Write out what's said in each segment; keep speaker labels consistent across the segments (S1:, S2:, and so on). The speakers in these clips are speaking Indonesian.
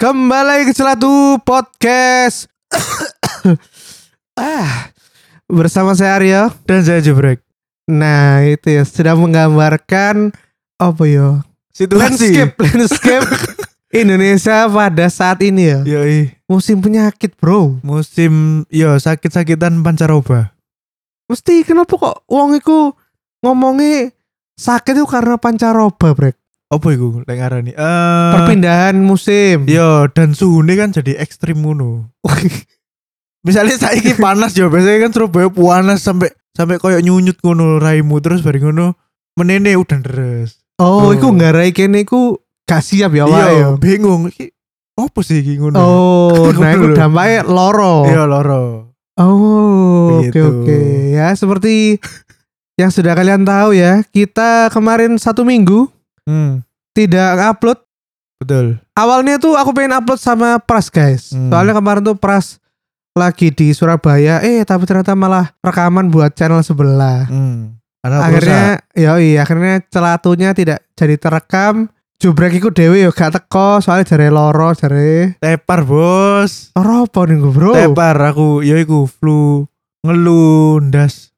S1: Kembali lagi ke Celatu Podcast. ah, bersama saya Aryo.
S2: dan saya jebrek
S1: Nah, itu ya sudah menggambarkan apa ya? Landscape, landscape Indonesia pada saat ini ya.
S2: Yoi,
S1: Musim penyakit, Bro.
S2: musim yo sakit-sakitan pancaroba.
S1: Mesti kenapa kok wong iku ngomongi sakit itu karena pancaroba, Brek.
S2: Apa iku lek ngarani? Eh
S1: Perpindahan musim.
S2: Yo dan suhune kan jadi ekstrim ngono. Misalnya saiki panas yo biasanya kan Surabaya panas sampai sampai koyo nyunyut ngono raimu terus bari ngono menene udan deres.
S1: Oh,
S2: Oh.
S1: iku nggarai kene iku gak siap ya, Wak, ya.
S2: Iya, bingung iki opo sih iki ngono?
S1: Oh, nah itu
S2: Ngono.
S1: dampaknya loro.
S2: Iya loro.
S1: Oh, oke
S2: Begitu.
S1: oke. Ya, seperti yang sudah kalian tahu ya, kita kemarin satu minggu
S2: Hmm,
S1: tidak upload.
S2: betul.
S1: Awalnya tuh aku pengen upload sama Pras, guys.
S2: Hmm.
S1: Soalnya kemarin tuh Pras lagi di Surabaya, eh tapi ternyata malah rekaman buat channel sebelah.
S2: Hmm. Karena
S1: akhirnya ya iya, akhirnya celatunya tidak jadi terekam. Jubrek iku dhewe yo gak teko soalnya jare loro jare.
S2: tepar, Bos.
S1: Loro apa nih gue, Bro?
S2: tepar aku ya iku flu ngelundas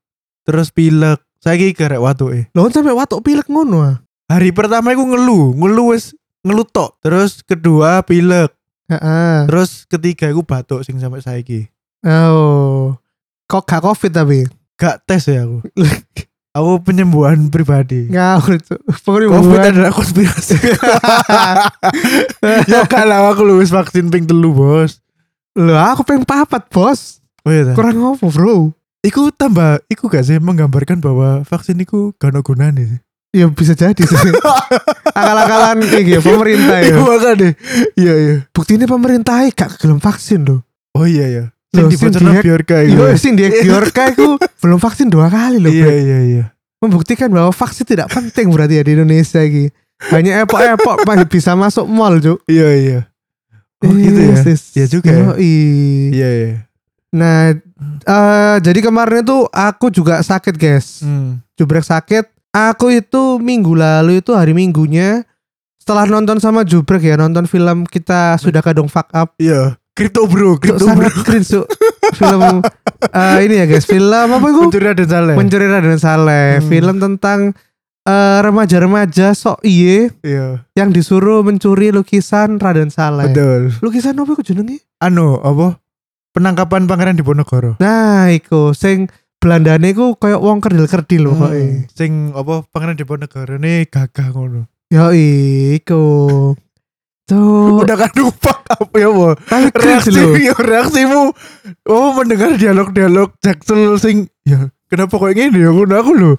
S2: terus pilek saiki garek watuke
S1: Loh, sampai watuk pilek ngono. ah.
S2: eh. hari pertama iku ngelu ngelu wis ngelu tok terus kedua pilek
S1: Heeh.
S2: terus ketiga iku batuk sing sampai saiki
S1: Oh. Kok gak covid tapi?
S2: gak tes ya aku aku penyembuhan pribadi
S1: Ngawur tuh.
S2: covid
S1: Pengeribuan.
S2: adalah konspirasi ya kalau aku lu wis vaksin ping telu bos
S1: Loh, aku pengen papat, Bos.
S2: Oh iya, ta?
S1: Kurang apa, Bro?
S2: iku tambah iku gak sih menggambarkan bahwa vaksin iku gak ono gunane sih
S1: Ya bisa jadi sih. Akal-akalan iki ya, pemerintah ya.
S2: Iku makane. iya iya
S1: Buktinya pemerintah eh, gak gelem vaksin loh.
S2: Oh iya ya.
S1: Loh,
S2: Sing
S1: sing
S2: dibocorno
S1: dihack-
S2: Bjorka itu.
S1: Yo sing dia Giorka iku belum vaksin dua kali loh,
S2: Iya
S1: Bro.
S2: iya iya.
S1: Membuktikan bahwa vaksin tidak penting berarti ya di Indonesia iki. Banyak epok-epok masih bisa masuk mall, Cuk.
S2: Iya iya. Oh gitu ya.
S1: Yes, yes.
S2: Ya juga ya.
S1: Yoi.
S2: Iya iya.
S1: Nah, eh jadi kemarin itu aku juga sakit, guys.
S2: Hmm.
S1: Jubrek sakit. Aku itu minggu lalu itu hari Minggunya setelah nonton sama Jubrek ya, nonton film kita sudah kadung fuck up.
S2: Iya. Crypto bro,
S1: Itu
S2: crypto bro.
S1: sangat cringe, Su. film eh, ini ya, guys. Film apa itu?
S2: Pencuri ada salah.
S1: Pencuri Raden Saleh.
S2: ya? Hmm.
S1: Film tentang eh, remaja-remaja sok iye
S2: Iya.
S1: yang disuruh mencuri lukisan Raden Saleh.
S2: Betul.
S1: Lukisan apa iku jenenge?
S2: Anu apa? Penangkapan pangeran Diponegoro.
S1: Nah, iku sing Belandane iku koyo wong kerdil-kerdil loh
S2: Hmm.
S1: kok.
S2: Sing apa pangeran Diponegoro ini gagah ngono.
S1: Yo iku. Tuh,
S2: Udah kan lupa apa ya apa?
S1: tapi cringe
S2: Reaksi,
S1: lho.
S2: iya, reaksimu. Oh mendengar dialog-dialog Jackson sing ya kenapa kok ngene ya ngono aku lho.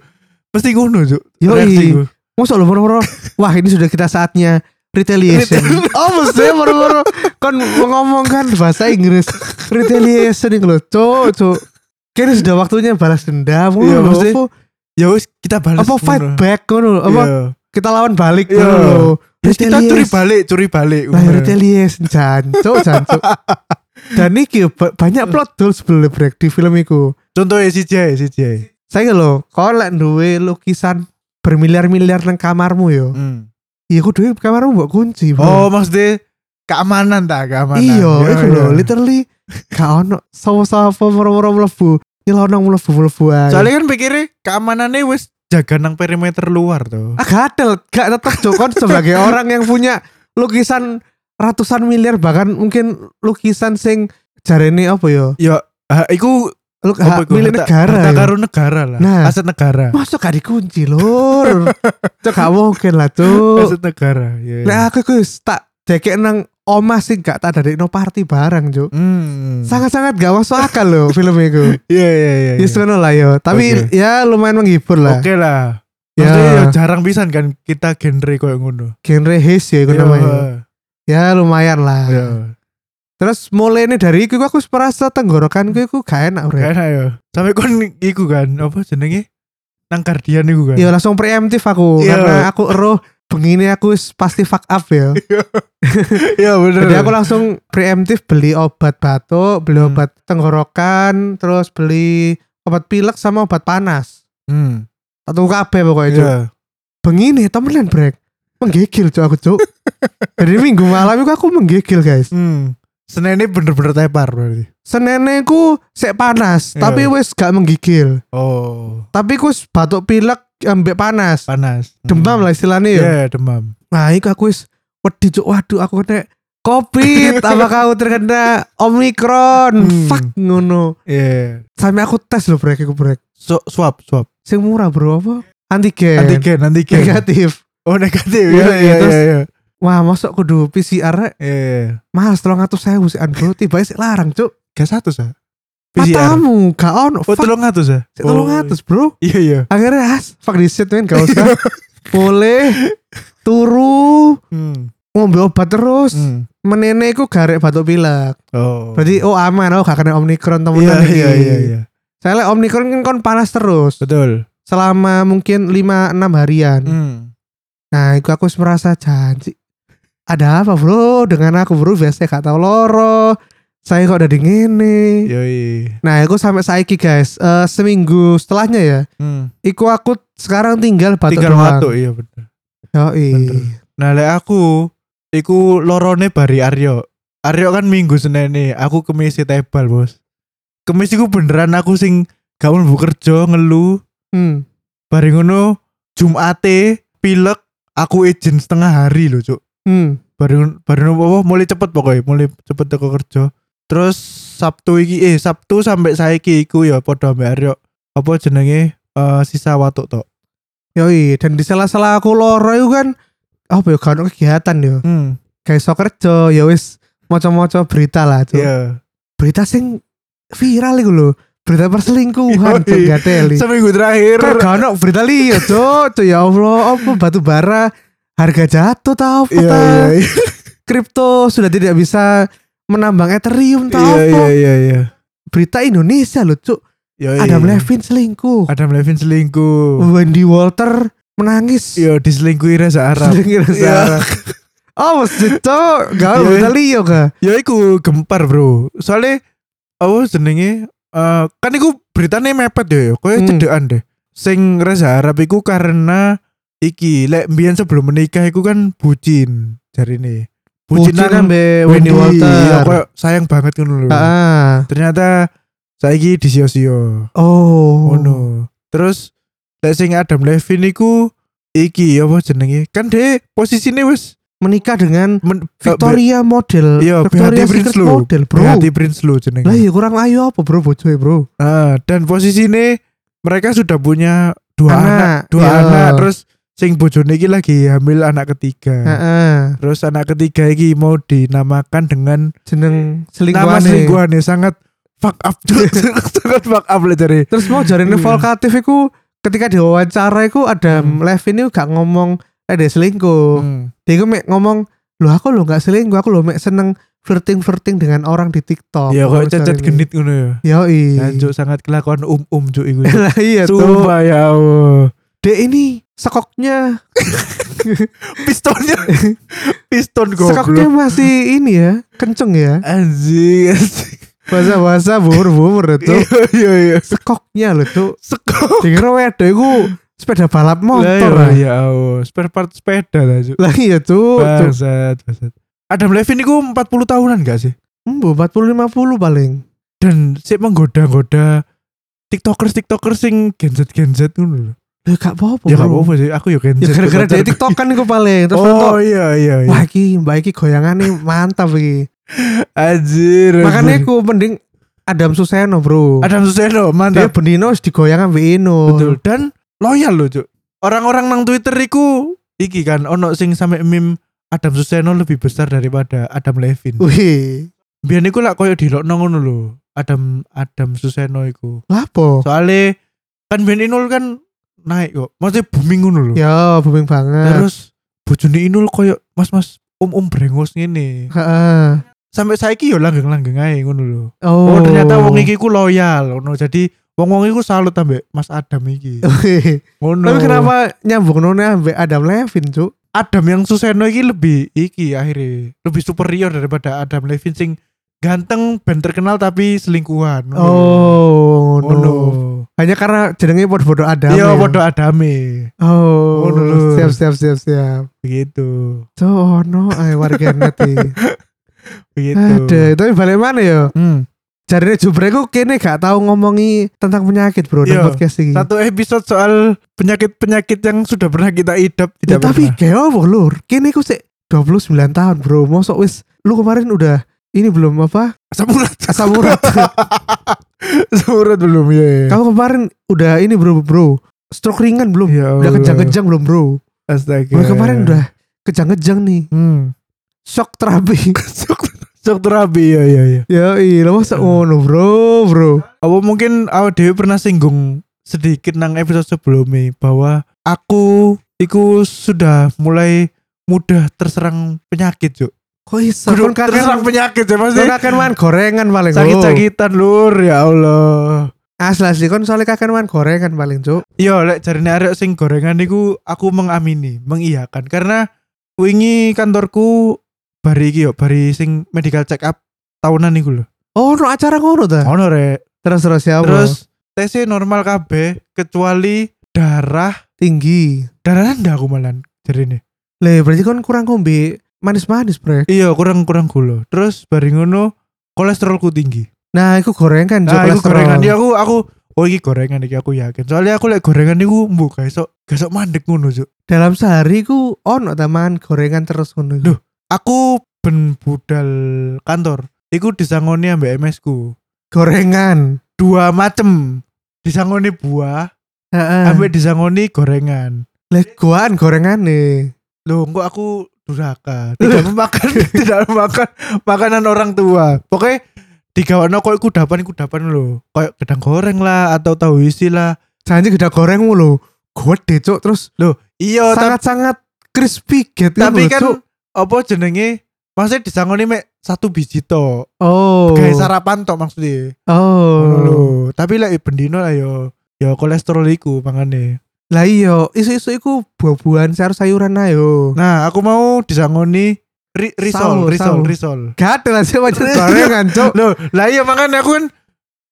S2: Mesti ngono, Cuk.
S1: Yoi.
S2: Reaksiku.
S1: Mosok lho moro-moro. Wah, ini sudah kita saatnya retaliation. oh, mesti moro-moro kon ngomong kan bahasa Inggris. Retaliation iku lho, cuk, cuk. Kayaknya sudah waktunya balas dendam. ngono
S2: Iya,
S1: lho,
S2: mesti.
S1: apa,
S2: ya wis kita balas
S1: apa fight
S2: ngono.
S1: back ngono lho, apa
S2: Iya.
S1: kita lawan balik
S2: Iya.
S1: ngono lho.
S2: Terus kita
S1: Retaliation.
S2: curi balik curi balik
S1: Lah
S2: Ngono.
S1: retaliation jancuk jancuk. Dan iki ba-
S2: Iya.
S1: banyak plot holes sebelum break di film iku.
S2: contohnya si Jai si Jai
S1: Saya lho, kau lek duwe lukisan bermiliar-miliar nang kamarmu yo. Iya, aku duwe kamarmu mbok kunci,
S2: Hmm. oh maksudnya keamanan tak keamanan
S1: iya, iku lho,
S2: iya.
S1: literally gak ono sapa-sapa moro-moro mlebu. Nyelonong mlebu-mlebu ae.
S2: soalnya kan pikirnya keamanannya wis jaga nang perimeter luar tuh
S1: ah gadel, gak tetep Jokon sebagai orang yang punya lukisan ratusan miliar bahkan mungkin lukisan sing jarene apa yo?
S2: ya ha, iku
S1: Lu
S2: apa
S1: Ah. hak milik
S2: Harta-
S1: negara.
S2: harta
S1: yo.
S2: karun negara lah
S1: Nah.
S2: aset negara
S1: Masuk gak dikunci lur. Cok gak mungkin lah tuh.
S2: aset negara ya
S1: Lek aku ku wis tak dekek nang omah sih gak tak dari no party barang cuk.
S2: hmm
S1: Sangat-sangat gak masuk akal loh film itu.
S2: iya iya iya
S1: Ya
S2: iya.
S1: sebenarnya lah yo. Tapi
S2: Oke.
S1: ya lumayan menghibur lah.
S2: oke lah
S1: Ya.
S2: Maksudnya ya jarang pisan kan kita genre koyo ngono
S1: Genre haze ya itu
S2: Iya.
S1: namanya. Ah. Ya lumayan lah.
S2: Iya.
S1: Terus mulai nih dari iku aku merasa tenggorokanku iku gak enak bre.
S2: Enak ya. Sampai kon iku kan apa jenenge? Nang Guardian iku kan.
S1: Ya langsung preemptif aku
S2: Iya.
S1: karena aku eruh begini aku wis pasti fuck up ya.
S2: Iya bener.
S1: Jadi aku langsung preemptif beli obat batuk, beli
S2: Hmm.
S1: obat tenggorokan, terus beli obat pilek sama obat panas.
S2: hmm.
S1: Atau kabeh pokoknya, Cuk.
S2: Iya.
S1: Bengi nih, temenan, Brek. Menggigil, Cuk, aku, Cuk. Dari minggu malam itu aku menggigil guys.
S2: Hmm. Seninnya bener-bener tepar berarti.
S1: Senene ku sek panas,
S2: Iya.
S1: tapi wes gak menggigil.
S2: Oh,
S1: Tapi ku wis batuk pilek ambek panas.
S2: panas. Hmm.
S1: Demam lah istilahnya
S2: Iya,
S1: ya.
S2: demam.
S1: Nah, iku aku wis wedi cuk. Waduh, aku kena COVID. Apa kau terkena Omicron?
S2: Hmm.
S1: Fuck ngono.
S2: Iya.
S1: Sampai aku tes loh brek iku brek.
S2: So, swab, swab.
S1: Sing murah bro apa? Antigen.
S2: Antigen, antigen.
S1: Negatif.
S2: Iya. Oh, negatif.
S1: Iya,
S2: Iya,
S1: iya,
S2: iya,
S1: terus-
S2: iya. iya.
S1: Wah, masuk kudu PCR rek?
S2: Iya.
S1: mahal 300.000 sih bro. Tiba sih larang cuk.
S2: Gak satu sa. PCR.
S1: Matamu gak ono.
S2: Oh,
S1: Fuck.
S2: tolong ngatus ya?
S1: Sik 300 bro.
S2: Iya, iya.
S1: Akhirnya as fuck this shit men gak usah. Boleh turu
S2: Hmm.
S1: ngombe obat terus.
S2: hmm.
S1: Menene iku garek batuk pilek.
S2: Oh.
S1: Berarti oh aman oh gak kena omikron temen
S2: iya, iya, iya, iya.
S1: Saya lihat omikron kan kon panas terus
S2: Betul.
S1: selama mungkin 5 6 harian.
S2: Hmm.
S1: Nah, itu aku wis merasa janji. Ada apa, Bro? Dengan aku, Bro, biasanya gak tau loro. Saya kok dari ngene.
S2: Iya. Yoi.
S1: Nah, aku sampai saiki, guys. Eh, seminggu setelahnya ya.
S2: Hmm.
S1: Iku aku sekarang tinggal batuk
S2: Tinggal
S1: doang.
S2: batuk, iya bener.
S1: Yoi.
S2: Bener. Nah lek aku iku lorone bari Aryo. Aryo kan Minggu Senin aku kemis tebal, Bos. Kemis iku beneran aku sing gak mlebu kerja ngelu
S1: Hmm.
S2: bari ngono Jumate pilek aku izin setengah hari lho, Cuk.
S1: Hmm.
S2: Bari ngono- bari ngono apa, mulai cepet pokoknya, mulai cepet teko kerja. Terus Sabtu iki eh Sabtu sampai saiki iku ya padha mbek Aryo. Apa jenenge eh, sisa watuk tok.
S1: Yoi, dan di sela-sela aku loro itu kan apa ya gak ono kegiatan ya.
S2: Hmm.
S1: Kayak iso kerja, ya wis maca-maca berita lah, Cuk.
S2: Iya.
S1: berita sing viral iku lho. Berita perselingkuhan
S2: Yoi.
S1: Cuk, gak teli.
S2: Seminggu terakhir
S1: Kok gak ono berita liya, Cuk. Cuk, ya Allah, apa batu bara harga jatuh tau apa
S2: Iya,
S1: ta?
S2: iya, iya.
S1: Kripto sudah tidak bisa menambang Ethereum tau
S2: Iya
S1: apa?
S2: iya iya iya.
S1: Berita Indonesia lho, Cuk.
S2: Yoi.
S1: Adam Levine selingkuh.
S2: Adam Levine selingkuh.
S1: Wendy Walter menangis.
S2: Yo diselingkuhi Reza Iya, Arab. Iya.
S1: Dengar suara. Oh, mesti Cuk. Gak ono
S2: Yoi.
S1: berita liya gak?
S2: Yo Ya, iku gempar, Bro. Soale apa jenenge eh kan iku beritane mepet yo, yo. koyo
S1: Hmm.
S2: cedekan deh. Sing Reza Arab iku karena iki lek mbiyen sebelum menikah iku kan bucin jarine.
S1: Bucin
S2: kan
S1: ambe Wendy
S2: Yo
S1: Walter.
S2: Iya, koyo sayang banget ngono lho.
S1: Ah.
S2: Ternyata saiki disio-sio.
S1: Oh.
S2: Oh no. Terus lek sing Adam Levine iku iki apa jenenge? Kan deh posisine wis
S1: menikah dengan
S2: men-
S1: Victoria model
S2: Eh, Iya,
S1: Victoria
S2: Beate
S1: Secret
S2: Winslow.
S1: model
S2: eh,
S1: bro
S2: Beate Prinsloo jenenge.
S1: lah ya kurang ayu apa bro bojoe bro
S2: Ah, dan posisine mereka sudah punya dua anak, dua
S1: Iya.
S2: anak terus sing bojone iki lagi hamil anak ketiga.
S1: Heeh.
S2: Terus anak ketiga iki mau dinamakan dengan
S1: jeneng
S2: nama
S1: selingkuhan
S2: selingkuhannya sangat fuck up
S1: Iya.
S2: sangat fuck up lah dari
S1: terus mau jarin
S2: Iya.
S1: provokatif iku ketika diwawancara iku ada
S2: Hmm.
S1: Levin itu gak ngomong eh dia selingkuh dia iku mek ngomong loh aku lo gak selingkuh aku lo mek seneng flirting flirting dengan orang di TikTok
S2: ya
S1: Kalau
S2: kok
S1: misalnya
S2: cacat genit ngono ya
S1: ini. Yoi.
S2: Anjuk sangat kelakuan um-um cuk iku. Cuk.
S1: lah iya tuh
S2: Sumpah ya Allah.
S1: dia ini sekoknya
S2: Pistonnya piston
S1: sekoknya
S2: goblok.
S1: masih ini ya kenceng ya
S2: Anjing. anjing.
S1: bahasa-bahasa bubur-bubur itu
S2: Iya iya iya.
S1: sekoknya loh tuh
S2: Sekok.
S1: dikira wedo iku sepeda balap motor
S2: Lah,
S1: lah iya.
S2: Ya Allah, spare part sepeda lah Cuk.
S1: lah iya tuh tuh.
S2: Bangsat, bangsat. Adam Levine itu 40 tahunan gak sih?
S1: embo 40 50 paling
S2: Dan sih menggoda-goda tiktokers tiktokers sing gen Z gen Z ngono lho.
S1: ya gak apa-apa
S2: Ya gak
S1: bro.
S2: apa-apa sih, aku ya gen Z.
S1: ya gara-gara
S2: Tiktoker.
S1: dari tiktok kan iku paling terus
S2: Oh
S1: nonton,
S2: iya iya iya.
S1: wah iki mbak iki goyangan nih mantap iki
S2: Anjir.
S1: makanya
S2: anjir.
S1: aku mending Adam Suseno bro
S2: Adam Suseno
S1: dia
S2: mantap.
S1: bendino harus digoyang ambil Ino
S2: Betul. Dan loyal loh, Cuk. Orang-orang nang Twitter iku iki kan ono sing sampe meme Adam Suseno lebih besar daripada Adam Levine.
S1: wih
S2: Biyen iku lak koyo dilokno ngono lho. Adam Adam Suseno iku.
S1: lapo
S2: Soale kan biyen Inul kan naik kok. Maksudnya booming ngono lho.
S1: ya booming banget
S2: Terus bojone Inul koyo mas-mas om-om brengos ngene.
S1: Heeh.
S2: Sampai saiki yo langgeng-langgeng ae ngono lho.
S1: oh.
S2: Oh, ternyata wong iki ku loyal ngono. Jadi wong-wong iku salut ambek Mas Adam iki.
S1: Wih.
S2: Ngono.
S1: tapi kenapa nyambung nona ambil Adam Levin cuk
S2: Adam yang Suseno iki lebih iki akhirnya lebih superior daripada Adam Levine sing ganteng ben terkenal tapi selingkuhan.
S1: Oh,
S2: Ngono.
S1: no. Hanya karena jenenge podo-podo ada.
S2: Iya podo adame.
S1: ya? Oh,
S2: Ngono lho.
S1: siap siap siap siap.
S2: Begitu.
S1: Tuh ono ae warga net iki.
S2: Begitu.
S1: Ada, tapi balik mana ya?
S2: Hmm.
S1: Jarine jubreku kene gak tahu ngomongi tentang penyakit, Bro,
S2: Iya.
S1: nang podcast iki.
S2: Satu episode soal penyakit-penyakit yang sudah pernah kita idap
S1: Ya,
S2: tidak
S1: tapi
S2: pernah.
S1: kayak apa lur? Kene ku sik 29 tahun, Bro. Mosok wis lu kemarin udah ini belum apa?
S2: asam urat.
S1: Asam urat.
S2: Asam urat belum ya. ya.
S1: Kamu kemarin udah ini, Bro, Bro. Stroke ringan belum?
S2: Ya
S1: Udah
S2: Allah.
S1: kejang-kejang belum, Bro?
S2: Astaga.
S1: Gue kemarin udah kejang-kejang nih.
S2: hmm.
S1: Shock terapi.
S2: Sok sok terapi ya ya ya.
S1: ya iya, masa ngono, Bro, Bro.
S2: Apa mungkin awak Dewi pernah singgung sedikit nang episode sebelumnya bahwa aku iku sudah mulai mudah terserang penyakit, Cuk.
S1: Kok iso?
S2: Kudu
S1: Kon kakek-
S2: terserang penyakit ya pasti.
S1: Kon kakek makan gorengan paling. Sakit-sakit.
S2: Sakit-sakitan lur ya Allah.
S1: Asli asli kon soalnya kakek makan gorengan paling, Cuk.
S2: Yo lek jarine arek sing gorengan niku aku mengamini, mengiyakan karena wingi kantorku bari iki yo bari sing medical check up tahunan niku lho.
S1: Oh, no acara ngono ta?
S2: Ono rek.
S1: Terus terus ya, Bro.
S2: Terus tesnya normal kabeh kecuali darah.
S1: Tinggi.
S2: Darah rendah aku malan jarine.
S1: Le, berarti kon kurang kombi manis-manis, ya? Bre.
S2: Iya, kurang-kurang gula. Terus bari ngono kolesterolku tinggi.
S1: Nah, iku gorengan, iya. Cuk.
S2: Nah, iku
S1: kolesterol.
S2: gorengan iki aku aku oh iki gorengan iki aku yakin. Soalnya aku lek gorengan niku mbok gak iso gak iso mandek ngono, Cuk.
S1: Dalam sehari ku ono ta mangan gorengan terus ngono.
S2: Duh. Aku ben budal kantor. Iku disangoni ambek MS ku.
S1: Gorengan.
S2: Dua macem. Disangoni buah,
S1: Heeh.
S2: ambek disangoni gorengan.
S1: Le, goan gorengan nih.
S2: Loh, kok aku durhaka. Tidak memakan tidak memakan makanan orang tua. Pokoknya digawana koyo kudapan-kudapan lho. Kayak gedang goreng lah atau tahu isi lah.
S1: Janji gede goreng mulu. Gede, Cuk. Terus
S2: Loh, iya tapi,
S1: sangat-sangat crispy gitu loh,
S2: tapi kan
S1: Cuk.
S2: apa jenenge? Maksudnya disangoni mek satu biji tok.
S1: oh
S2: Kayak sarapan tok maksudnya.
S1: oh
S2: Ngono lho. Tapi lek bendino lah yo yo kolesterol iku mangane.
S1: lah iya isu-isu iku buah-buahan harus sayuran ayo
S2: Nah, aku mau disangoni ri risol,
S1: Saul,
S2: risol,
S1: Saul.
S2: risol.
S1: gak ada lah sih macam gorengan cok
S2: Loh, lah iya mangane aku kan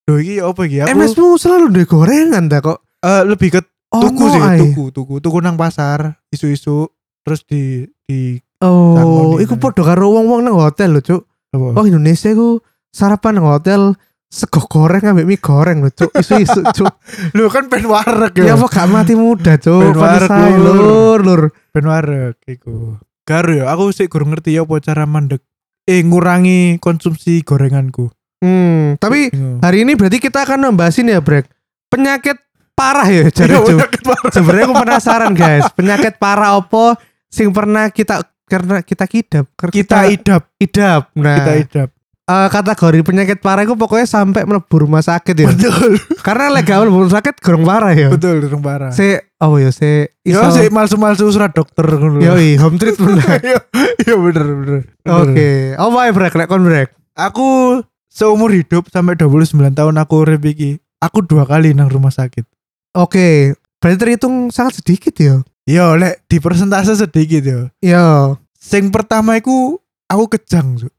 S2: Loh iki apa iki? Aku
S1: MS mu selalu deh gorengan dah kok
S2: eh, lebih ke
S1: Oh,
S2: tuku sih,
S1: ai.
S2: tuku, tuku, tuku nang pasar, isu-isu terus di di
S1: oh
S2: Tangoni.
S1: iku podo karo wong-wong nang hotel loh cok
S2: apa?
S1: oh Indonesia iku sarapan nang hotel sego goreng ambek mie goreng loh cok isu-isu cok
S2: Loh kan ben wareg
S1: ya apa gak mati muda cok
S2: Ben warek,
S1: pantai
S2: lur.
S1: lur lur
S2: Ben wareg iku. Garu ya, aku sih kurang ngerti ya apa cara mandek eh ngurangi konsumsi gorenganku.
S1: hmm tapi
S2: Bingung.
S1: hari ini berarti kita akan membahasin ya brek penyakit parah ya jadi
S2: Iya,
S1: cok
S2: penyakit wareg.
S1: sebenarnya aku penasaran guys penyakit para opo sing pernah kita karena kita kidap ker-
S2: kita idap,
S1: idap nah
S2: kita idap.
S1: eh, kategori penyakit parah itu pokoknya sampai mlebu rumah sakit ya
S2: Betul.
S1: karena lega mlebu rumah sakit gorong parah ya
S2: Betul dorong parah.
S1: se oh ya se
S2: Yo
S1: iso- Iya,
S2: sih malsu-malsu surat dokter ngono. lho.
S1: yoi home treatment lah.
S2: Yo, yo bener bener.
S1: oke
S2: Bener.
S1: oh my break lek kon break
S2: Aku seumur hidup sampai 29 tahun aku urip iki. Aku dua kali nang rumah sakit.
S1: oke berarti terhitung sangat sedikit ya Iya.
S2: Yo lek di persentase sedikit yo.
S1: yo
S2: Sing pertama iku aku kejang, Cuk.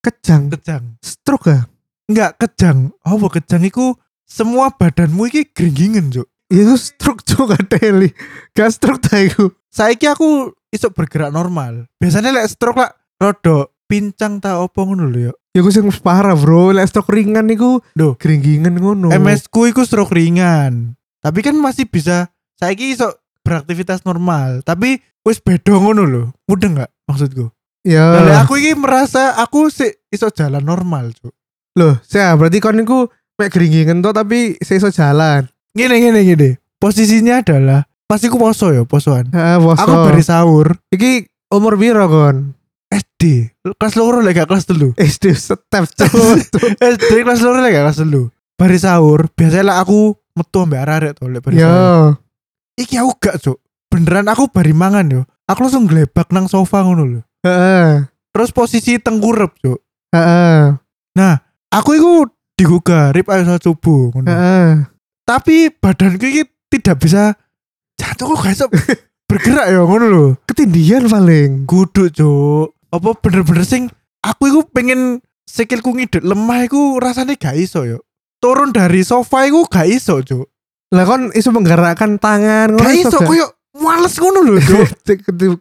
S1: kejang
S2: kejang.
S1: stroke ya
S2: Enggak kejang. Apa kejang iku semua badanmu iki gringgingen, Cuk.
S1: Iya, itu stroke juga teli gak stroke ta iku
S2: Saiki aku iso bergerak normal. Biasanya lek stroke lak rodok pincang ta opo ngono lho yo.
S1: ya gue sing parah bro lek stroke ringan niku
S2: Duh.
S1: keringgingan ngono
S2: MS ku iku stroke ringan. Tapi kan masih bisa saiki iso beraktivitas normal. Tapi wis beda ngono lho. Mudeng enggak maksudku? Lah, lek
S1: Ya.
S2: aku iki merasa aku sih iso jalan normal, Cuk.
S1: Loh, saya berarti kon niku mek geringgingan to tapi saya iso jalan.
S2: Gini gini gini. Posisinya adalah pasti ku poso ya, posoan.
S1: Heeh, poso.
S2: Aku bari sahur
S1: iki umur piro kon?
S2: SD. Kelas loro lek gak kelas telu.
S1: SD step cuk.
S2: SD kelas loro lek gak kelas telu. Bari sahur, biasanya lah aku metu ambek arek to lek bari
S1: Yo.
S2: sahur. Iki aku gak, Cuk. Beneran aku bari mangan yo. Aku langsung glebak nang sofa ngono lho.
S1: Heeh.
S2: Terus posisi tengkurep, Cuk.
S1: Heeh.
S2: Nah, aku itu digugah rib ayo salat subuh. ngono.
S1: Heeh.
S2: Tapi badanku ini tidak bisa jatuh kok gak iso bergerak ya ngono lho.
S1: Ketindihan paling.
S2: Guduk, Cuk. Apa bener-bener sing aku iku pengen sikilku ngidek lemah iku rasanya gak iso yo. turun dari sofa iku gak iso, Cuk.
S1: Lah kon iso menggerakkan tangan
S2: Gak iso koyo males ngono lho, Cuk.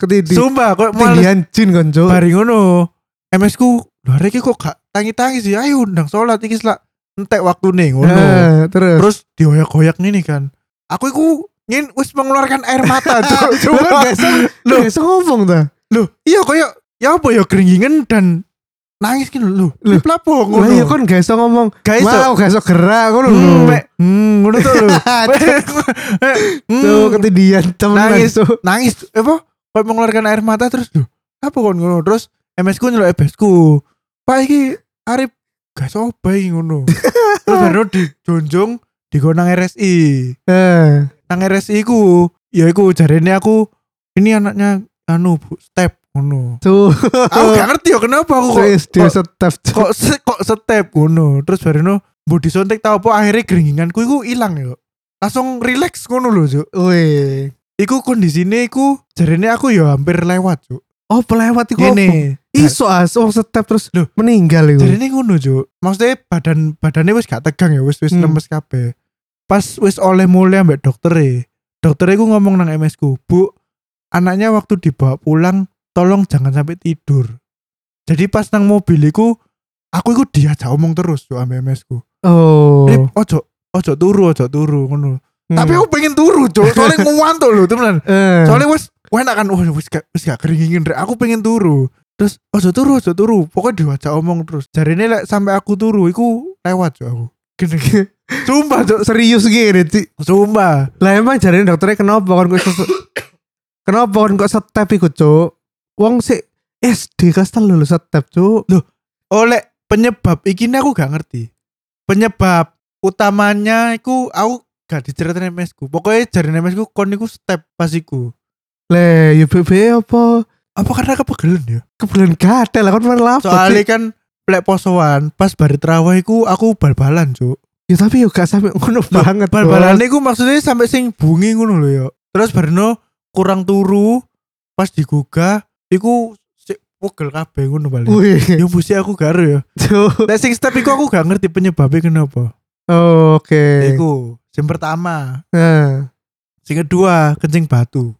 S1: ketindih.
S2: Sumpah koyo males
S1: Tinggian jin kon, Cuk.
S2: bari ngono. MS ku, lho arek iki kok gak tangi-tangi sih. Ayo ndang salat iki selak entek waktune ngono.
S1: Nah, terus.
S2: Terus dioyak-oyak ngene kan. Aku iku ngin wis mengeluarkan air mata, Cuk.
S1: Lah kan
S2: Sumpah.
S1: gak iso-
S2: Loh.
S1: gak iso ngomong ta?
S2: Loh, iya koyo ya apa ya geringgingen dan nangis gitu
S1: Loh.
S2: lho. Lip lapo
S1: Lah
S2: ngono.
S1: iya kon gak iso ngomong.
S2: Gak Eh, iso.
S1: Mau gak iso gerak ngono lho.
S2: Hmm, Mek. Hmm, ngono tuh lho. Mek, hmm,
S1: Tuh ketindihan temenan
S2: Nangis.
S1: Cuk.
S2: nangis apa? Kau mengeluarkan air mata terus duh. Apa kon ngono? Terus MS ku nyelok EBS ku. Pak iki arep gak soba iki ngono. terus baru dijonjong digo nang RSI.
S1: Eh,
S2: Nang RSI ku ya iku jarene aku ini anaknya anu Bu step ngono.
S1: Tuh.
S2: aku gak ngerti ya kenapa aku kok
S1: Terus dia
S2: kok-
S1: setep. Cuk.
S2: kok se- kok step ngono terus barino mbok disontek tau apa akhirnya geringinganku iku ilang ya langsung relax ngono lho Cuk
S1: Weh.
S2: iku kondisine iku jarene aku ya hampir lewat Cuk
S1: Oh, pelewat iku. apa?
S2: ngene
S1: Iso as wong setep terus
S2: Loh.
S1: meninggal iku.
S2: jarene ngono Cuk maksudnya badan badannya wis gak tegang ya wis wis
S1: Hmm.
S2: lemes kabeh pas wis oleh mulai ambek doktere doktere ku ngomong nang MS ku Bu anaknya waktu dibawa pulang tolong jangan sampai tidur jadi pas nang mobiliku aku iku diajak omong terus Cuk ambek MS ku
S1: Oh.
S2: Rip, ojo ojo turu ojo turu ngono.
S1: Hmm.
S2: Tapi aku pengen turu, Cuk. Soalnya nguwantuk lho, temenan.
S1: Eh.
S2: Soalnya wis enak kan wah wis gak wis gak keringin rek. Aku pengen turu. Terus ojo turu, ojo turu. Pokoknya diwajak omong terus. Jarine lek sampai aku turu iku lewat, Cuk aku. Gini. Sumpah, Cuk.
S1: serius gini Cik.
S2: Sumpah.
S1: lah emang jarinya dokternya kenapa kon kok sesu- kenapa kon kok setep iku cuk wong sik SD kelas telu lho setep cuk
S2: Oleh Oh, penyebab iki nih aku gak ngerti. Penyebab utamanya iku aku gak diceritain mesku. Pokoknya jarine mesku kon iku step pasiku.
S1: le ya bebe apa
S2: Apa karena kepegelen ya?
S1: kebelan gatel lah kon main lapor
S2: Soalnya
S1: Cik.
S2: kan plek posoan pas bari terawih ku aku bal-balan, Cuk.
S1: ya tapi yo gak sampe ngono banget
S2: Bal-balan
S1: Bos.
S2: iku maksudnya sampai sing bungi ngono lho ya. Terus barno kurang turu pas digugah iku sik pegel kabeh ngono bali.
S1: wih
S2: Ya mesti aku gak ero ya.
S1: cuk
S2: Nek sing step iku aku gak ngerti penyebabnya kenapa.
S1: Oh, oke
S2: Iku sing pertama,
S1: nah
S2: sing kedua kencing batu.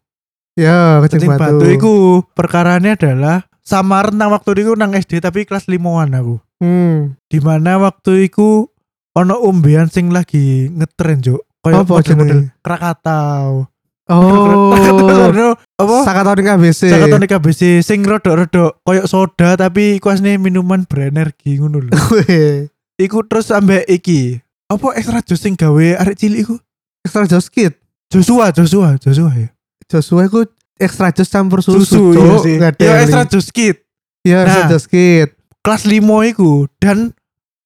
S1: ya kencing
S2: Kencing
S1: batu
S2: batu iku perkarane adalah samaran nang waktu iku nang SD tapi kelas limoan aku.
S1: hmm.
S2: di mana waktu iku ono umbean sing lagi ngetren juk kayak
S1: Apa
S2: model-model Krakatau
S1: oh
S2: Krakatau, apa
S1: sakatonik ABC
S2: Sakatonik KBC sing rodok-rodok kayak soda tapi iku asline minuman berenergi ngono lho
S1: Wih.
S2: iku terus sampe iki apa extra jus sing gawe arek cilik iku
S1: extra jus kit
S2: Joshua Joshua Joshua ya
S1: Joshua iku extra jus campur susu,
S2: susu
S1: Cuk.
S2: iya sih
S1: Nggak ada
S2: ya
S1: yang
S2: extra
S1: link.
S2: jus kit
S1: Iya, extra
S2: Nah.
S1: jus kit
S2: kelas limo iku dan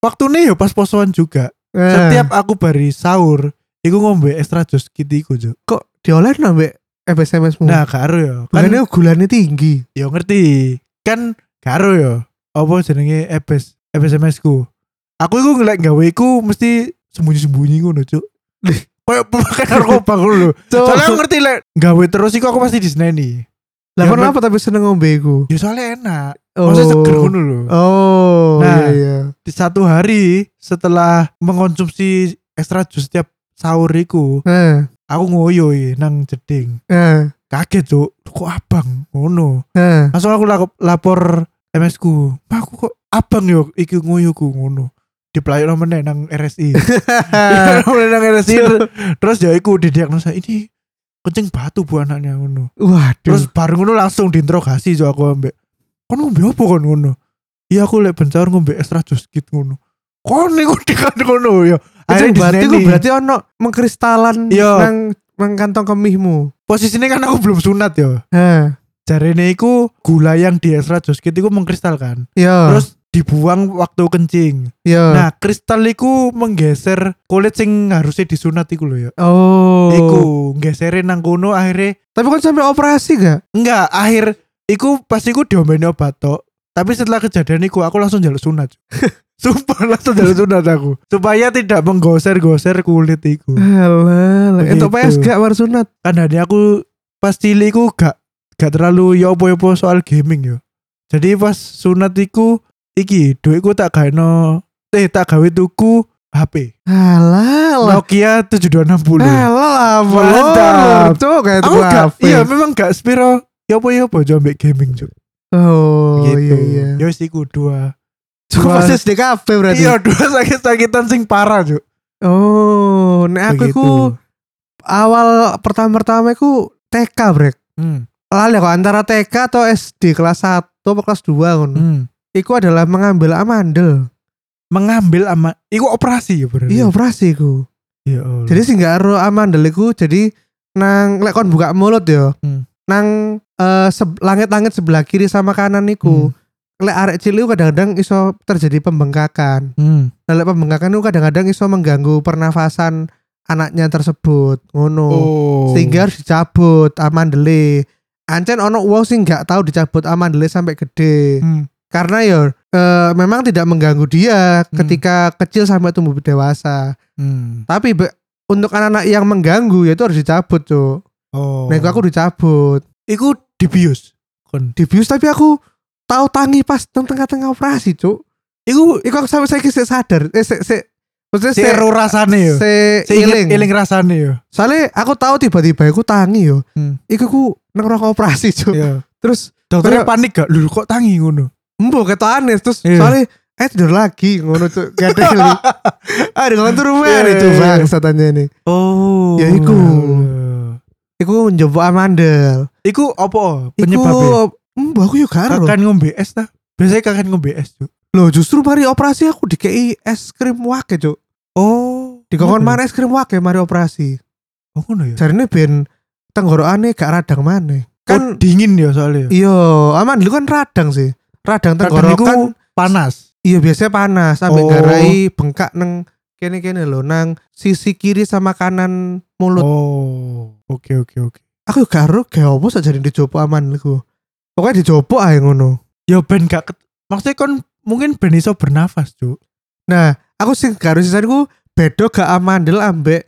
S2: waktunya ya pas posoan juga
S1: Eh.
S2: setiap aku bari sahur iku ngombe extra jus kit iku Cuk.
S1: kok diolah nambah FSMS mu?
S2: Nah, karo ya. Kan
S1: bukannya gulanya tinggi.
S2: yo ngerti. Kan karo ya. Apa jenenge EBS, SMS ku. Aku iku ngelek gawe iku mesti sembunyi-sembunyi ngono, Cuk. Kayak pemakai narkoba ngono lho.
S1: Oh.
S2: Soalnya aku ngerti lek gawe terus iku aku pasti disneni.
S1: Lah
S2: Ya,
S1: kenapa tapi seneng ngombe iku?
S2: Ya soalnya enak. Maksudnya seger ngono lho.
S1: Oh,
S2: Nah.
S1: iya iya.
S2: Di satu hari setelah mengkonsumsi extra jus setiap sahur iku,
S1: Nah,
S2: aku ngoyo iki nang jeding.
S1: nah,
S2: Kaget, Cuk. Kok abang ngono?
S1: nah.
S2: langsung aku lako- lapor MS ku "Pak, aku kok abang yo iki nguyuku ngono di pelayan meneh nang RSI Dipelayono nang RSI ter- terus ya iku didiagnosa ini kencing batu bu anaknya ngono
S1: Waduh.
S2: terus baru ngono langsung diinterogasi jo aku ambek kon ngombe apa kon ngono iya aku lek bencar ngombe extra jus kit ngono kon niku dekan ngono ya
S1: Kencing batu iku
S2: disneni.
S1: berarti ono mengkristalan
S2: Iya.
S1: nang nang kantong kemihmu.
S2: posisinya kan aku belum sunat ya
S1: Hah.
S2: jarene iku gula yang di extra jus kit iku mengkristalkan
S1: Iya.
S2: terus dibuang waktu kencing
S1: iya.
S2: Nah, kristal iku menggeser kulit sing harusnya disunat iku lho ya.
S1: oh.
S2: Iku nggeserin nang kono akhirnya
S1: Tapi kan sampai operasi gak?
S2: enggak akhir iku pas iku diombeni obat tok. Tapi setelah kejadian iku aku langsung jalur sunat. Sumpah langsung jalur sunat aku. Supaya tidak menggoser-goser kulit iku.
S1: Alah, lah. entuk PS
S2: Begitu.
S1: gak war sunat.
S2: Kan hari aku pas cilik iku gak gak terlalu ya apa-apa soal gaming ya. Jadi pas sunat iku iki duitku tak gaeno eh tak gawe tuku HP
S1: Halal.
S2: Nokia 7260
S1: Halal apa
S2: Mantap.
S1: lo? Cuk kayak
S2: aku
S1: tuh
S2: gak,
S1: HP.
S2: iya memang gak spiro ya apa ya apa jambek gaming cuk
S1: Oh
S2: gitu
S1: iya iya.
S2: ya wis iku dua
S1: Cuk
S2: Dua-
S1: persis DKP berarti.
S2: iya dua sakit-sakitan sing parah cuk
S1: Oh, nek aku iku
S2: Begitu.
S1: awal pertama-pertama iku TK, Brek.
S2: hmm.
S1: Lali kok antara TK atau SD kelas 1 atau kelas 2 ngono.
S2: hmm.
S1: Iku adalah mengambil amandel.
S2: mengambil ama iku operasi ya berarti
S1: Iya, operasi iku.
S2: ya Allah.
S1: Jadi sing gak ero amandel iku jadi nang lek kon buka mulut ya.
S2: Hmm.
S1: Nang eh, seb- langit-langit sebelah kiri sama kanan
S2: hmm.
S1: iku. Lek arek cilik iku kadang-kadang iso terjadi pembengkakan.
S2: Hmm.
S1: Nah, lek pembengkakan iku kadang-kadang iso mengganggu pernafasan anaknya tersebut. Ngono.
S2: oh
S1: sehingga harus dicabut amandele ancen ono wong sing nggak tahu dicabut amandele sampai gede
S2: Hmm.
S1: karena ya eh, memang tidak mengganggu dia
S2: Hmm.
S1: ketika kecil sampai tumbuh dewasa
S2: Hmm.
S1: tapi be- untuk anak-anak yang mengganggu ya itu harus dicabut tuh
S2: oh
S1: nah itu aku dicabut
S2: iku dibius kon
S1: dibius tapi aku tahu tangi pas teng tengah-tengah operasi cuk
S2: iku
S1: iku aku sampai saya sadar eh se se maksudnya se
S2: seru rasane ya
S1: se
S2: seiling
S1: iling.
S2: iling rasane ya
S1: soalnya aku tahu tiba-tiba aku tangi yo
S2: Hmm.
S1: iku aku nang ruang operasi cuk
S2: Iya.
S1: terus
S2: dokternya
S1: Kayak-
S2: panik gak lu kok tangi ngono
S1: Embo kata aneh terus
S2: Iya.
S1: soalnya eh tidur lagi ngono tuh gak ada kali. Ah dengan tuh rumah
S2: Iya,
S1: nih tuh
S2: iya,
S1: bang
S2: iya.
S1: katanya nih.
S2: oh
S1: Ya, iku. Iku njobo amandel.
S2: iku apa penyebabnya
S1: Iku Embo aku yo gak ero.
S2: Kakan Kan ngombe es ta biasanya kakan ngombe es tuh
S1: Loh justru mari operasi aku dikei es krim wake cuk.
S2: oh
S1: Dikongkon mana es krim wake mari operasi.
S2: oh ngono ya
S1: Jarine ben tenggorokane gak radang maneh.
S2: kan
S1: Kan
S2: dingin ya soalnya
S1: iya amandel kan radang sih. Radang
S2: kadang iku
S1: tenggorokan
S2: panas
S1: Iya biasanya panas sampai
S2: Oh.
S1: garai bengkak neng kene kene loh nang sisi kiri sama kanan mulut.
S2: oh oke oke oke
S1: Aku gak ero gak apa sak jadi dijopo aman iku. Pokoknya dijopo ae ngono.
S2: ya ben gak ket- maksudnya kon mungkin ben iso bernafas cuk
S1: Nah, aku sing gak ero sisan iku bedo gak amandel ambek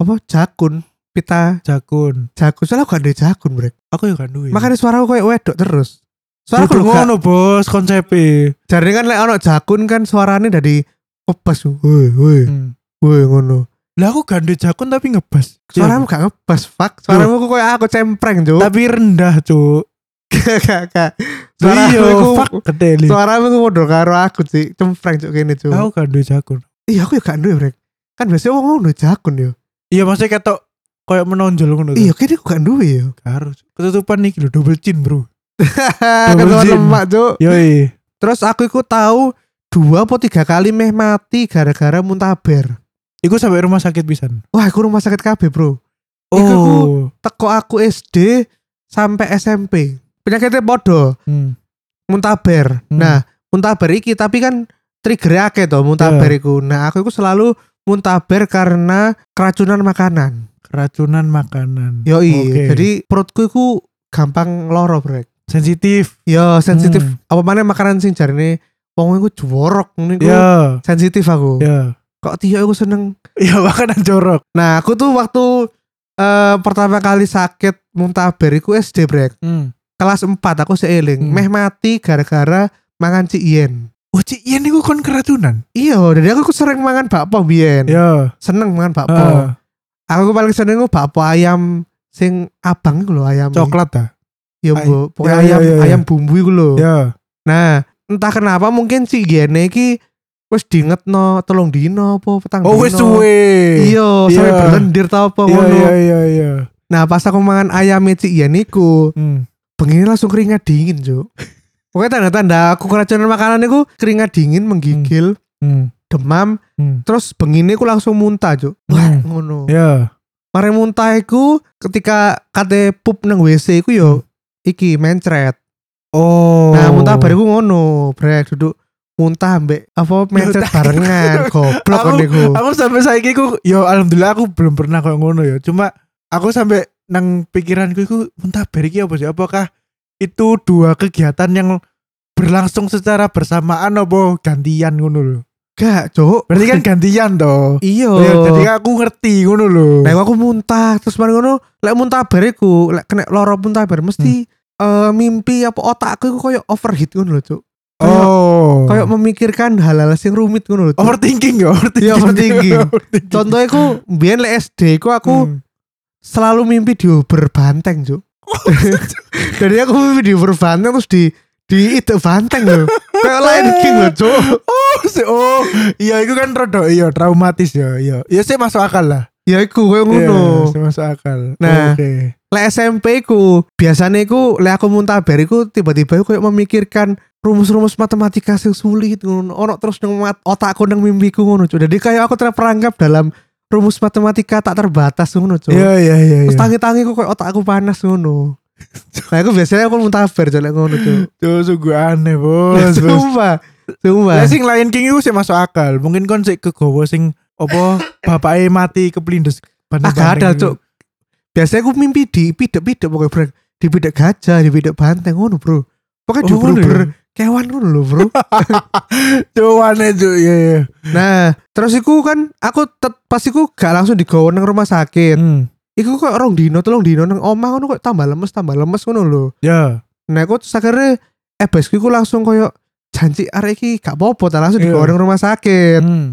S1: apa jakun pita
S2: jakun
S1: jakun soalnya aku gak ada jakun brek
S2: aku ya kan duwe
S1: makanya suara aku kayak wedok terus suara aku
S2: Kudu
S1: ngono
S2: ngono bos konsepe
S1: jadi kan lek ono jakun kan suaranya dari kebas woi woi
S2: hmm.
S1: woi ngono
S2: lah aku gandhe jakun tapi ngebas Iya.
S1: suaramu gak ngebas fuck suaramu kok kayak aku cempreng cuk
S2: tapi rendah cuk
S1: Gak, gak. Suara
S2: iya
S1: aku
S2: fuck keteli
S1: Suara aku modal karo aku sih Cempreng cuk gini cuk
S2: aku gandhe jakun
S1: Iya aku ya gak duwe brek Kan biasanya wong ngono jakun yo
S2: iya maksudnya ketok kayak menonjol ngono
S1: Iya kini aku gak duwe yo
S2: harus ketutupan nih lho double chin bro
S1: Ketua
S2: Double
S1: lemak Kan cuk
S2: yoi
S1: Terus aku iku tahu Dua atau tiga kali meh mati gara-gara muntaber
S2: iku sampai rumah sakit pisan
S1: Wah aku rumah sakit KB bro Iku aku
S2: oh
S1: teko aku SD Sampai SMP Penyakitnya podo
S2: Hmm.
S1: Muntaber
S2: Hmm.
S1: Nah muntaber iki tapi kan Trigger akeh to muntaber
S2: Iya.
S1: iku Nah aku iku selalu muntaber karena keracunan makanan
S2: keracunan makanan
S1: Yo
S2: Oke.
S1: jadi perutku iku gampang loro brek.
S2: sensitif
S1: Yo sensitif.
S2: Hmm.
S1: Apa mana makanan sing jarine wong iku jorok ngene iku
S2: ya
S1: sensitif aku.
S2: ya
S1: Kok Tio iku seneng.
S2: ya makanan jorok
S1: Nah, aku tuh waktu eh, pertama kali sakit muntaber iku SD brek.
S2: hmm.
S1: Kelas 4 aku seiling,
S2: Hmm.
S1: meh mati gara-gara mangan ciyen.
S2: Oh cik Ian itu kon keracunan
S1: Iya, dari aku iku sering mangan bakpao biyen.
S2: Ya
S1: Seneng mangan bakpao.
S2: Heeh.
S1: Aku paling seneng iku bakpao ayam sing abang iku lho ayam.
S2: Coklat ta
S1: Yo,
S2: Ay-
S1: mbok. pokoknya
S2: Iya, iya,
S1: ayam
S2: iya, iya.
S1: ayam bumbu iku lho.
S2: Ya
S1: Nah, entah kenapa mungkin si Gene iki wis diingetno telung dino apa petang
S2: Oh wis suwe
S1: Iya,
S2: Iya.
S1: sampe berlendir ta apa
S2: Iya
S1: ngono.
S2: iya iya iya
S1: Nah, pas aku mangan ayam Ci Gene iku,
S2: Hmm.
S1: bengi langsung keringat dingin, Cuk. Pokoknya tanda-tanda aku keracunan makanan iku keringat dingin, menggigil,
S2: Hmm.
S1: demam,
S2: Hmm.
S1: terus bengine aku langsung muntah, Cuk. Wah,
S2: Hmm.
S1: ngono.
S2: Ya
S1: Mare muntah iku ketika kate pup nang WC iku yo iki mencret.
S2: Hmm. Oh
S1: Nah, muntah bariku ngono, brek duduk muntah ambek apa mencret
S2: Muntah.
S1: barengan, goblok
S2: Aku-
S1: kan iku.
S2: Aku sampai saiki ku ya alhamdulillah aku belum pernah kayak ngono ya. Cuma aku sampai nang pikiranku iku muntah beriki apa sih? Apakah itu dua kegiatan yang berlangsung secara bersamaan apa gantian ngono lho.
S1: Gak, Cuk.
S2: Berarti kan gantian toh.
S1: iya.
S2: Ya, jadi aku ngerti ngono lho.
S1: Nah, aku muntah terus mari ngono, lek muntah
S2: Hmm.
S1: bariku, lek kena loro muntah bar mesti eh mimpi apa otakku iku koyo overheat ngono lho, Cuk. Kayak-
S2: oh
S1: Kayak memikirkan hal-hal yang rumit ngono lho.
S2: overthinking ya overthinking
S1: Iya, overthinking.
S2: Overthinking.
S1: Contohnya aku biyen le SD ku aku
S2: Hmm.
S1: selalu mimpi dioper banteng, Cuk. Jadi aku mimpi dioper banteng terus di di itu banteng loh. Kayak Lion King loh, Cuk.
S2: oh si- oh iya itu kan rodo iya traumatis ya iya iya sih masuk akal lah
S1: Ya iku kayak ngono.
S2: Iya, sih masuk akal Oh,
S1: Nah.
S2: oke
S1: Le SMP ku biasanya ku le aku muntaber iku tiba-tiba aku kayak memikirkan rumus-rumus matematika yang sulit ngono ono terus nang mat- otakku nang mimpiku ngono Cuk. Jadi kayak aku terperangkap dalam rumus matematika tak terbatas ngono Cuk.
S2: iya iya iya
S1: Terus
S2: iya.
S1: tangi-tangi aku kayak otakku panas ngono. nah, aku biasanya aku muntaber jek lek ngono Cuk.
S2: Tuh sungguh aneh bos. bos.
S1: Sumpah. Sumpah.
S2: Oh, Lah sing Lion King itu sih masuk akal. Mungkin kon sik kegowo sing apa bapaknya mati keplindes.
S1: Ah,
S2: bandel-bandel
S1: gak ada
S2: gitu.
S1: cuk. Biasanya aku mimpi di pidek-pidek pokoknya bro. Di pidek gajah, di pidek banteng ngono bro. Pokoknya
S2: Oh,
S1: di
S2: ngono ya?
S1: ber kewan ngono loh bro.
S2: Cuk aneh cuk iya iya.
S1: nah terus iku kan aku tet, pas iku gak langsung digawa nang rumah sakit.
S2: Hmm.
S1: Iku kok orang dino tolong dino nang omah ngono kok tambah lemes tambah lemes ngono loh.
S2: Ya.
S1: Nah aku terus akhirnya eh besok iku langsung koyo janji arek iki gak apa-apa tak langsung digawa
S2: Iya.
S1: nang rumah sakit.
S2: Hmm.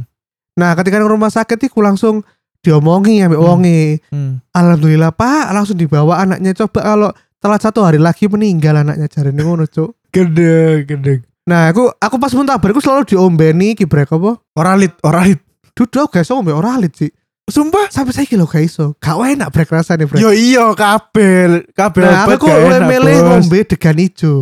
S1: Nah ketika nang rumah sakit iku langsung diomongi ambek
S2: Hmm.
S1: wonge.
S2: Hmm.
S1: Alhamdulillah Pak langsung dibawa anaknya coba kalau telat satu hari lagi meninggal anaknya jarene ngono cuk.
S2: Gede gede.
S1: Nah aku aku pas muntaber aku selalu diombeni kibrek apa?
S2: Oralit oralit.
S1: Duduk gak iso ngombe ora lit sih.
S2: Sumpah.
S1: Sampai saya kilo gak iso. Gak enak brek rasane brek.
S2: Yo iya kabel kabel.
S1: nah
S2: obat
S1: aku
S2: gak
S1: oleh
S2: enak,
S1: milih
S2: bos.
S1: ngombe degan ijo.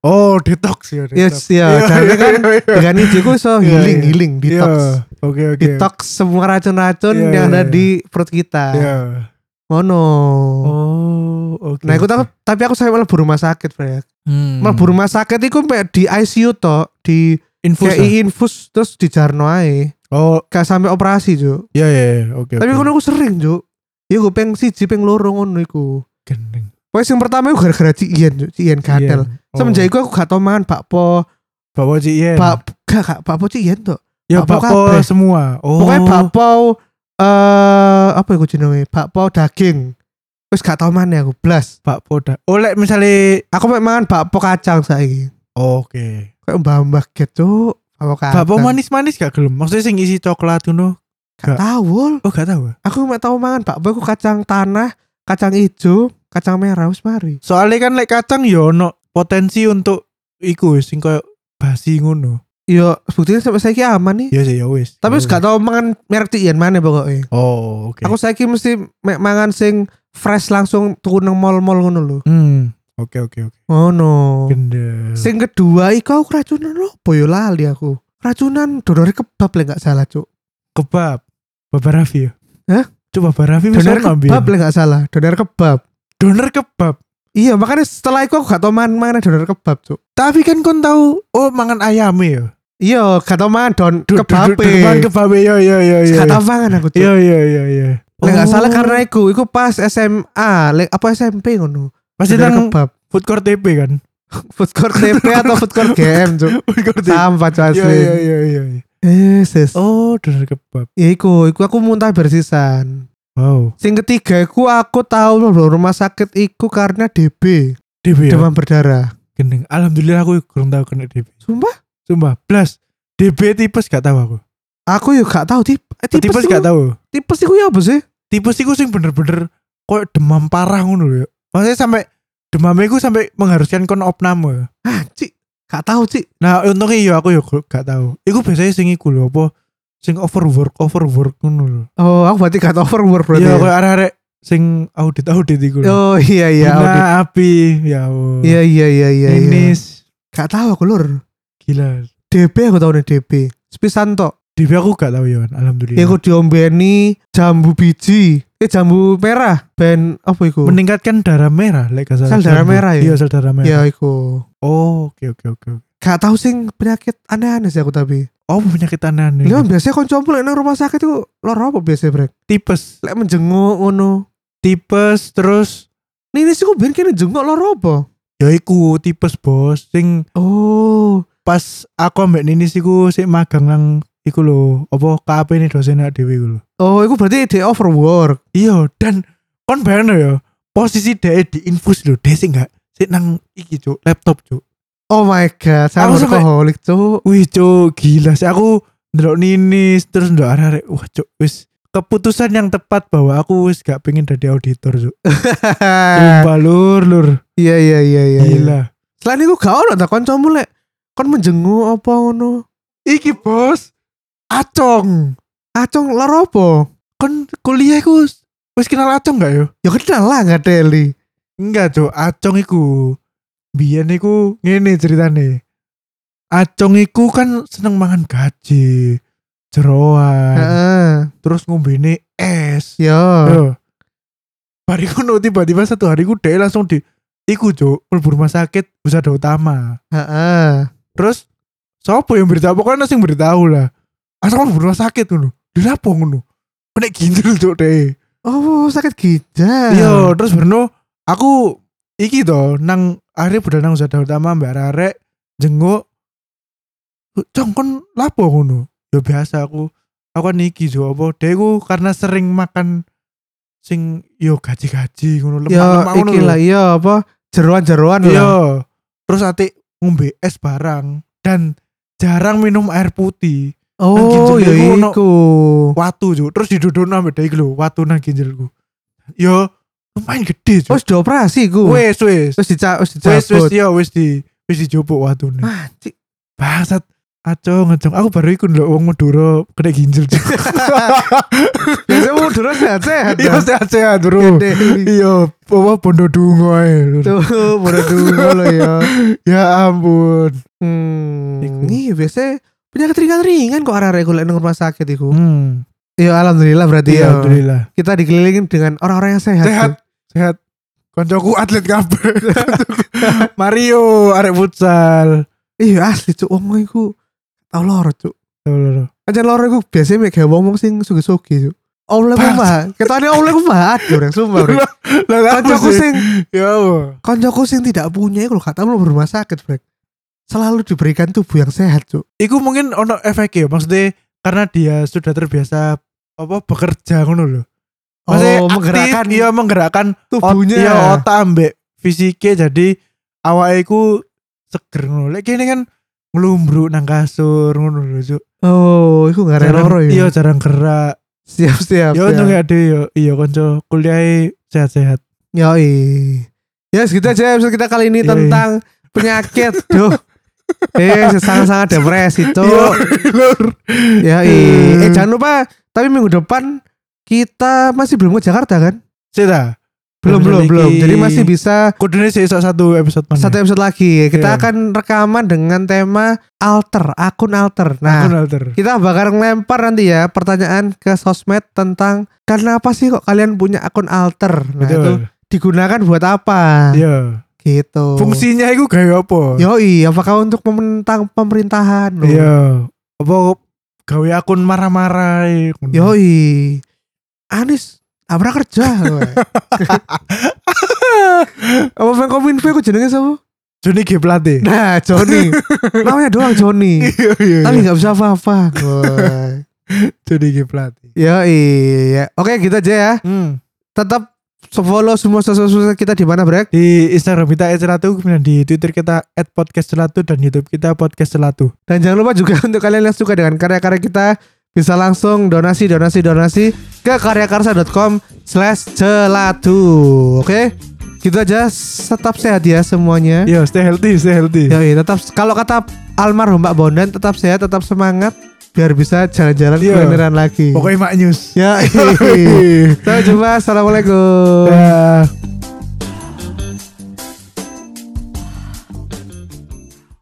S2: Oh detox ya.
S1: Yes ya, karena kan degan ijo ku iso
S2: Iya,
S1: healing
S2: iya.
S1: healing detox.
S2: Oke oke.
S1: Detox semua racun-racun
S2: Iya,
S1: yang ada
S2: iya,
S1: di perut kita.
S2: Iya.
S1: Ngono.
S2: Oh oke.
S1: Nah, aku
S2: oke.
S1: tahu, tapi aku sampai mlebu rumah sakit, Brek.
S2: Hmm.
S1: Mlebu rumah sakit iku sampai di ICU to, di
S2: infus.
S1: kayak
S2: ah?
S1: infus terus dijarno ae.
S2: Oh,
S1: Gak sampai operasi, Cuk.
S2: iya iya, iya. oke.
S1: Tapi
S2: oke.
S1: ngono aku sering, Cuk. Ya gue peng siji peng loro ngono iku.
S2: gendeng. Iya.
S1: Pokoknya yang pertama aku gara-gara Cien, Cuk. Cien gatel. Semenjak iku aku gak tau mangan bakpo.
S2: Bapak Ji Oh. iya.
S1: Bak gak gak bakpo Cien to.
S2: ya
S1: Bapak
S2: Bapak
S1: kabeh.
S2: semua. Oh.
S1: Pokoknya bakpo eh apa iku jenenge? Bakpo daging. Terus gak tau mangan aku blas.
S2: Bapak dah. Oh, lek misalnya
S1: Aku mek mangan bakpo kacang saiki.
S2: oke.
S1: Kayak mbah-mbah gitu. Bakpo kacang.
S2: Bapak manis-manis gak gelem. Maksudnya sing isi coklat ngono.
S1: Gak tau, Wul.
S2: Oh, gak tahu. ah?
S1: Aku mek tau mangan bakpo iku kacang tanah, kacang ijo, kacang merah wis mari.
S2: Soalnya kan lek kacang yo ono potensi untuk iku wis, sing koyo basi ngono.
S1: Yo, buktinya sampai saya aman nih.
S2: Ya sih ya wis.
S1: Tapi
S2: Ya
S1: wis gak tau mangan merek cian mana pokoknya.
S2: Oh, oke.
S1: Aku saiki mesti mek mangan sing fresh langsung tuku nang mall-mall ngono lho.
S2: Hmm. Oke, oke, oke.
S1: Ngono.
S2: Gendeng.
S1: Oh. Sing kedua iku aku keracunan opo yo lali aku. Keracunan donore kebab le gak salah, Cuk.
S2: kebab. Bapak Raffi ya.
S1: Hah?
S2: Coba Bapak Raffi wis
S1: Donor
S2: ono ambil.
S1: kebab le gak salah, donor kebab.
S2: Donor kebab.
S1: Iya, makanya setelah itu aku gak tau mangan mangan donor kebab, Cuk.
S2: Tapi kan kon tahu oh mangan ayam ya.
S1: Iya, gak tau mangan don kebab.
S2: Mangan kebab ya ya ya ya.
S1: Gak tau mangan aku, Cuk.
S2: Ya ya ya ya.
S1: Lek gak salah
S2: Oh.
S1: karena iku, iku pas SMA, lek apa SMP ngono.
S2: pasti
S1: Donor
S2: nang
S1: kebab.
S2: kan food court TP kan.
S1: food court TP atau food court GM cuk
S2: Food court
S1: sampah cuk
S2: Ya
S1: asli
S2: ya ya ya. ya.
S1: eh sis
S2: Oh, donor kebab.
S1: ya iku iku aku muntah bersisan
S2: Wow.
S1: sing ketiga iku aku tahu loh rumah sakit iku karena DB
S2: DP ya.
S1: demam berdarah
S2: Gendeng. Alhamdulillah aku kurang tahu kena DP.
S1: sumpah
S2: Sumpah, blas. DP tipes gak tahu aku.
S1: aku ya gak tahu tip eh, tipes
S2: Tipes
S1: iku-
S2: gak tahu.
S1: tipes iku ya apa sih
S2: Tipes iku sing bener-bener koyo demam parah ngono lho ya. Maksudnya sampai demamnya iku sampai mengharuskan kon opname.
S1: ah cik gak tahu cik
S2: Nah untungnya iya aku ya gak tahu. Iku biasanya sing iku lho apa sing overwork overwork ngono lho.
S1: oh aku berarti gak tahu overwork berarti
S2: Iya
S1: ya.
S2: kayak arek-arek sing audit audit iku lho.
S1: oh iya iya
S2: Bina
S1: audit.
S2: api ya Allah.
S1: iya iya iya iya iya.
S2: Ini
S1: gak tahu aku lur
S2: gila.
S1: DB aku tahu nih DB sepisan tok
S2: DB aku gak tahu ya, alhamdulillah.
S1: Ya aku diombeni jambu biji. Eh jambu merah ben apa iku?
S2: meningkatkan darah merah lek gak salah.
S1: Sel darah
S2: Jambu.
S1: merah ya?
S2: Iya, sel darah merah.
S1: ya iku.
S2: Oh, oke oke oke.
S1: Gak tahu sing penyakit aneh-aneh sih aku tapi.
S2: Oh, penyakit aneh-aneh.
S1: Lha biasanya kancamu lek nang rumah sakit iku lara apa biasanya, Brek?
S2: Tipes,
S1: Lek menjenguk ngono.
S2: tipes terus
S1: Nini sih ku ben kene jenguk lara apa?
S2: ya iku tipes bos sing
S1: Oh,
S2: pas aku ambek Ninis iku sik magang nang iku lho, apa KAP ini dosen nak dhewe iku lho.
S1: oh iku berarti dia overwork.
S2: Iya, dan kon bayangno ya, posisi dhek diinfus lho, dhek sing gak sik nang iki cuk, laptop cuk.
S1: Oh my god, saya
S2: Aku sampai-
S1: alkoholik cuk.
S2: Wih cuk gila sih aku ndelok ninis terus ndelok arek wah cuk wis keputusan yang tepat bahwa aku wis gak pengen jadi auditor cuk. Sumpah lur lur
S1: Iya iya iya Ah. iya. iya.
S2: gila.
S1: Selain itu gak ono ta kancamu lek kon menjenguk apa ngono?
S2: Iki bos acong
S1: Acung lara apa?
S2: kon kuliah iku wis kenal acong gak yo?
S1: Ya kenal lah gak Deli.
S2: Enggak cuk acong iku biyen iku ngene ceritane. Acong iku kan seneng mangan gaji, jeroan,
S1: Heeh. Iya.
S2: terus ngombene es.
S1: Yo.
S2: Yo. Bariku no tiba-tiba satu hari ku deh langsung di iku cuk mlebu rumah sakit Husada Utama.
S1: Heeh.
S2: Terus sopo yang beritahu pokoknya sing beritahu lah. Asal mlebu rumah sakit ngono. Lha apa ngono? Kena ginjal cuk deh.
S1: Oh, sakit gijal.
S2: Iya, terus Bruno aku iki to nang akhirnya budal nang Husada Utama Mbak Rarek jenguk Cong kon lapo ngono? Ya biasa aku aku kan iki jo apa deku karena sering makan sing yo gaji-gaji ngono
S1: Yo
S2: lemak-lemak ngono.
S1: Ya, iki
S2: lho.
S1: lah iya apa? Jeruan-jeruan
S2: Iya.
S1: lah.
S2: Terus ati ngombe es barang dan jarang minum air putih.
S1: Oh,
S2: Nang ginjel
S1: yo
S2: iku ono-
S1: iku.
S2: Watu jo, terus didodon ambek dai lho, watu nang ginjalku. Yo lumayan gede jo.
S1: Wis dioperasi iku.
S2: Wes wes.
S1: Wis dicak wis
S2: wis wis
S1: dicabut.
S2: ya wis di wis dijupuk watune.
S1: Ah, cik.
S2: Bangsat. Acong, acong. Aku baru ikut lho wong Madura kena ginjal.
S1: Biasanya mau dulu sehat-sehat.
S2: Iya
S1: dah.
S2: sehat-sehat, Bro.
S1: Gede.
S2: Iya, apa Bondo Dungo ae, lho.
S1: Tuh, bodoh dulu lo ya.
S2: Ya ampun. Iku.
S1: Hmm. Iya, biasanya penyakit ringan-ringan kok arah-arah iku lek nang rumah sakit iku.
S2: Hmm.
S1: Ya alhamdulillah
S2: Iya.
S1: berarti ya.
S2: alhamdulillah.
S1: Kita dikelilingin dengan orang-orang yang sehat.
S2: Sehat, sehat. Koncoku atlet kabeh. Mario arek futsal.
S1: Iya asli cuk wong iku tau loro cuk.
S2: Lho, lho, lho.
S1: Aja loro iku biasanya mek gawe wong sing sugih-sugih cuk. Oleh ku
S2: Bang.
S1: mah, ketane oleh ku mah aduh rek sumpah rek.
S2: Lho, lho, apa
S1: Kancaku
S2: sih?
S1: Kan sing
S2: Ya Allah.
S1: kancaku sing tidak punya iku lho kata lu rumah sakit brek. Selalu diberikan tubuh yang sehat cuk.
S2: Iku mungkin ono efeknya maksudnya karena dia sudah terbiasa apa bekerja ngono lho. Maksudnya aktif,
S1: Oh, menggerakkan
S2: iya menggerakkan
S1: tubuhnya.
S2: ot, iya, otak ambek fisiknya jadi awake ku seger ngono. Lek kene kan nglumbruk nang kasur ngono lho, Cuk.
S1: Oh, iku ngarep
S2: Jarang-
S1: loro ya.
S2: Iya, jarang gerak.
S1: Siap-siap.
S2: Yo untung gak ada yo. Iya konco kuliah sehat-sehat.
S1: Yoi. Ya segitu aja episode kita kali ini
S2: Yoi.
S1: tentang penyakit. Duh. Eh, sangat-sangat
S2: Iya.
S1: depresi tuh.
S2: lur.
S1: Yoi. Eh, jangan lupa tapi minggu depan kita masih belum ke Jakarta kan?
S2: Sita.
S1: Belum, belum, belum. Jadi
S2: Iya.
S1: masih bisa
S2: kudune sesuk satu episode mana.
S1: satu episode lagi. Kita
S2: Iya.
S1: akan rekaman dengan tema alter, akun alter. Nah,
S2: Akun alter.
S1: kita bakal ngelempar nanti ya pertanyaan ke sosmed tentang kenapa sih kok kalian punya akun alter? Nah, itu
S2: Betul.
S1: digunakan buat apa?
S2: Iya.
S1: Gitu.
S2: Fungsinya iku gawe apa?
S1: Yoi, apakah untuk menentang pemerintahan? loh?
S2: Iya. Apa gawe akun marah-marah eh, ngono.
S1: Yoi. Anies, abra kerja. weh. Apa fan kominfo aku jenenge siapa?
S2: Joni G Plate.
S1: Nah, Joni. Namanya doang Joni.
S2: Iya iya.
S1: Tapi
S2: iya.
S1: nggak bisa apa-apa. Weh.
S2: Joni G Plate.
S1: Yoi. Ya. Oke, kita aja ya.
S2: Hmm.
S1: Tetap follow semua sosmed kita di mana, Brek?
S2: Di Instagram kita @celatu, kemudian di Twitter kita @podcastcelatu dan YouTube kita podcast celatu.
S1: Dan jangan lupa juga untuk kalian yang suka dengan karya-karya kita bisa langsung donasi donasi donasi ke karyakarsa.com slash celatu. Oke, gitu aja. Tetap sehat ya semuanya.
S2: Yo, stay healthy, stay healthy.
S1: Yoi, tetap kalau kata almarhum Mbak Bondan tetap sehat, tetap semangat biar bisa jalan-jalan
S2: Iya.
S1: kulineran lagi.
S2: Pokoknya mak news.
S1: ya. Sampai jumpa. Assalamualaikum.
S2: Dah.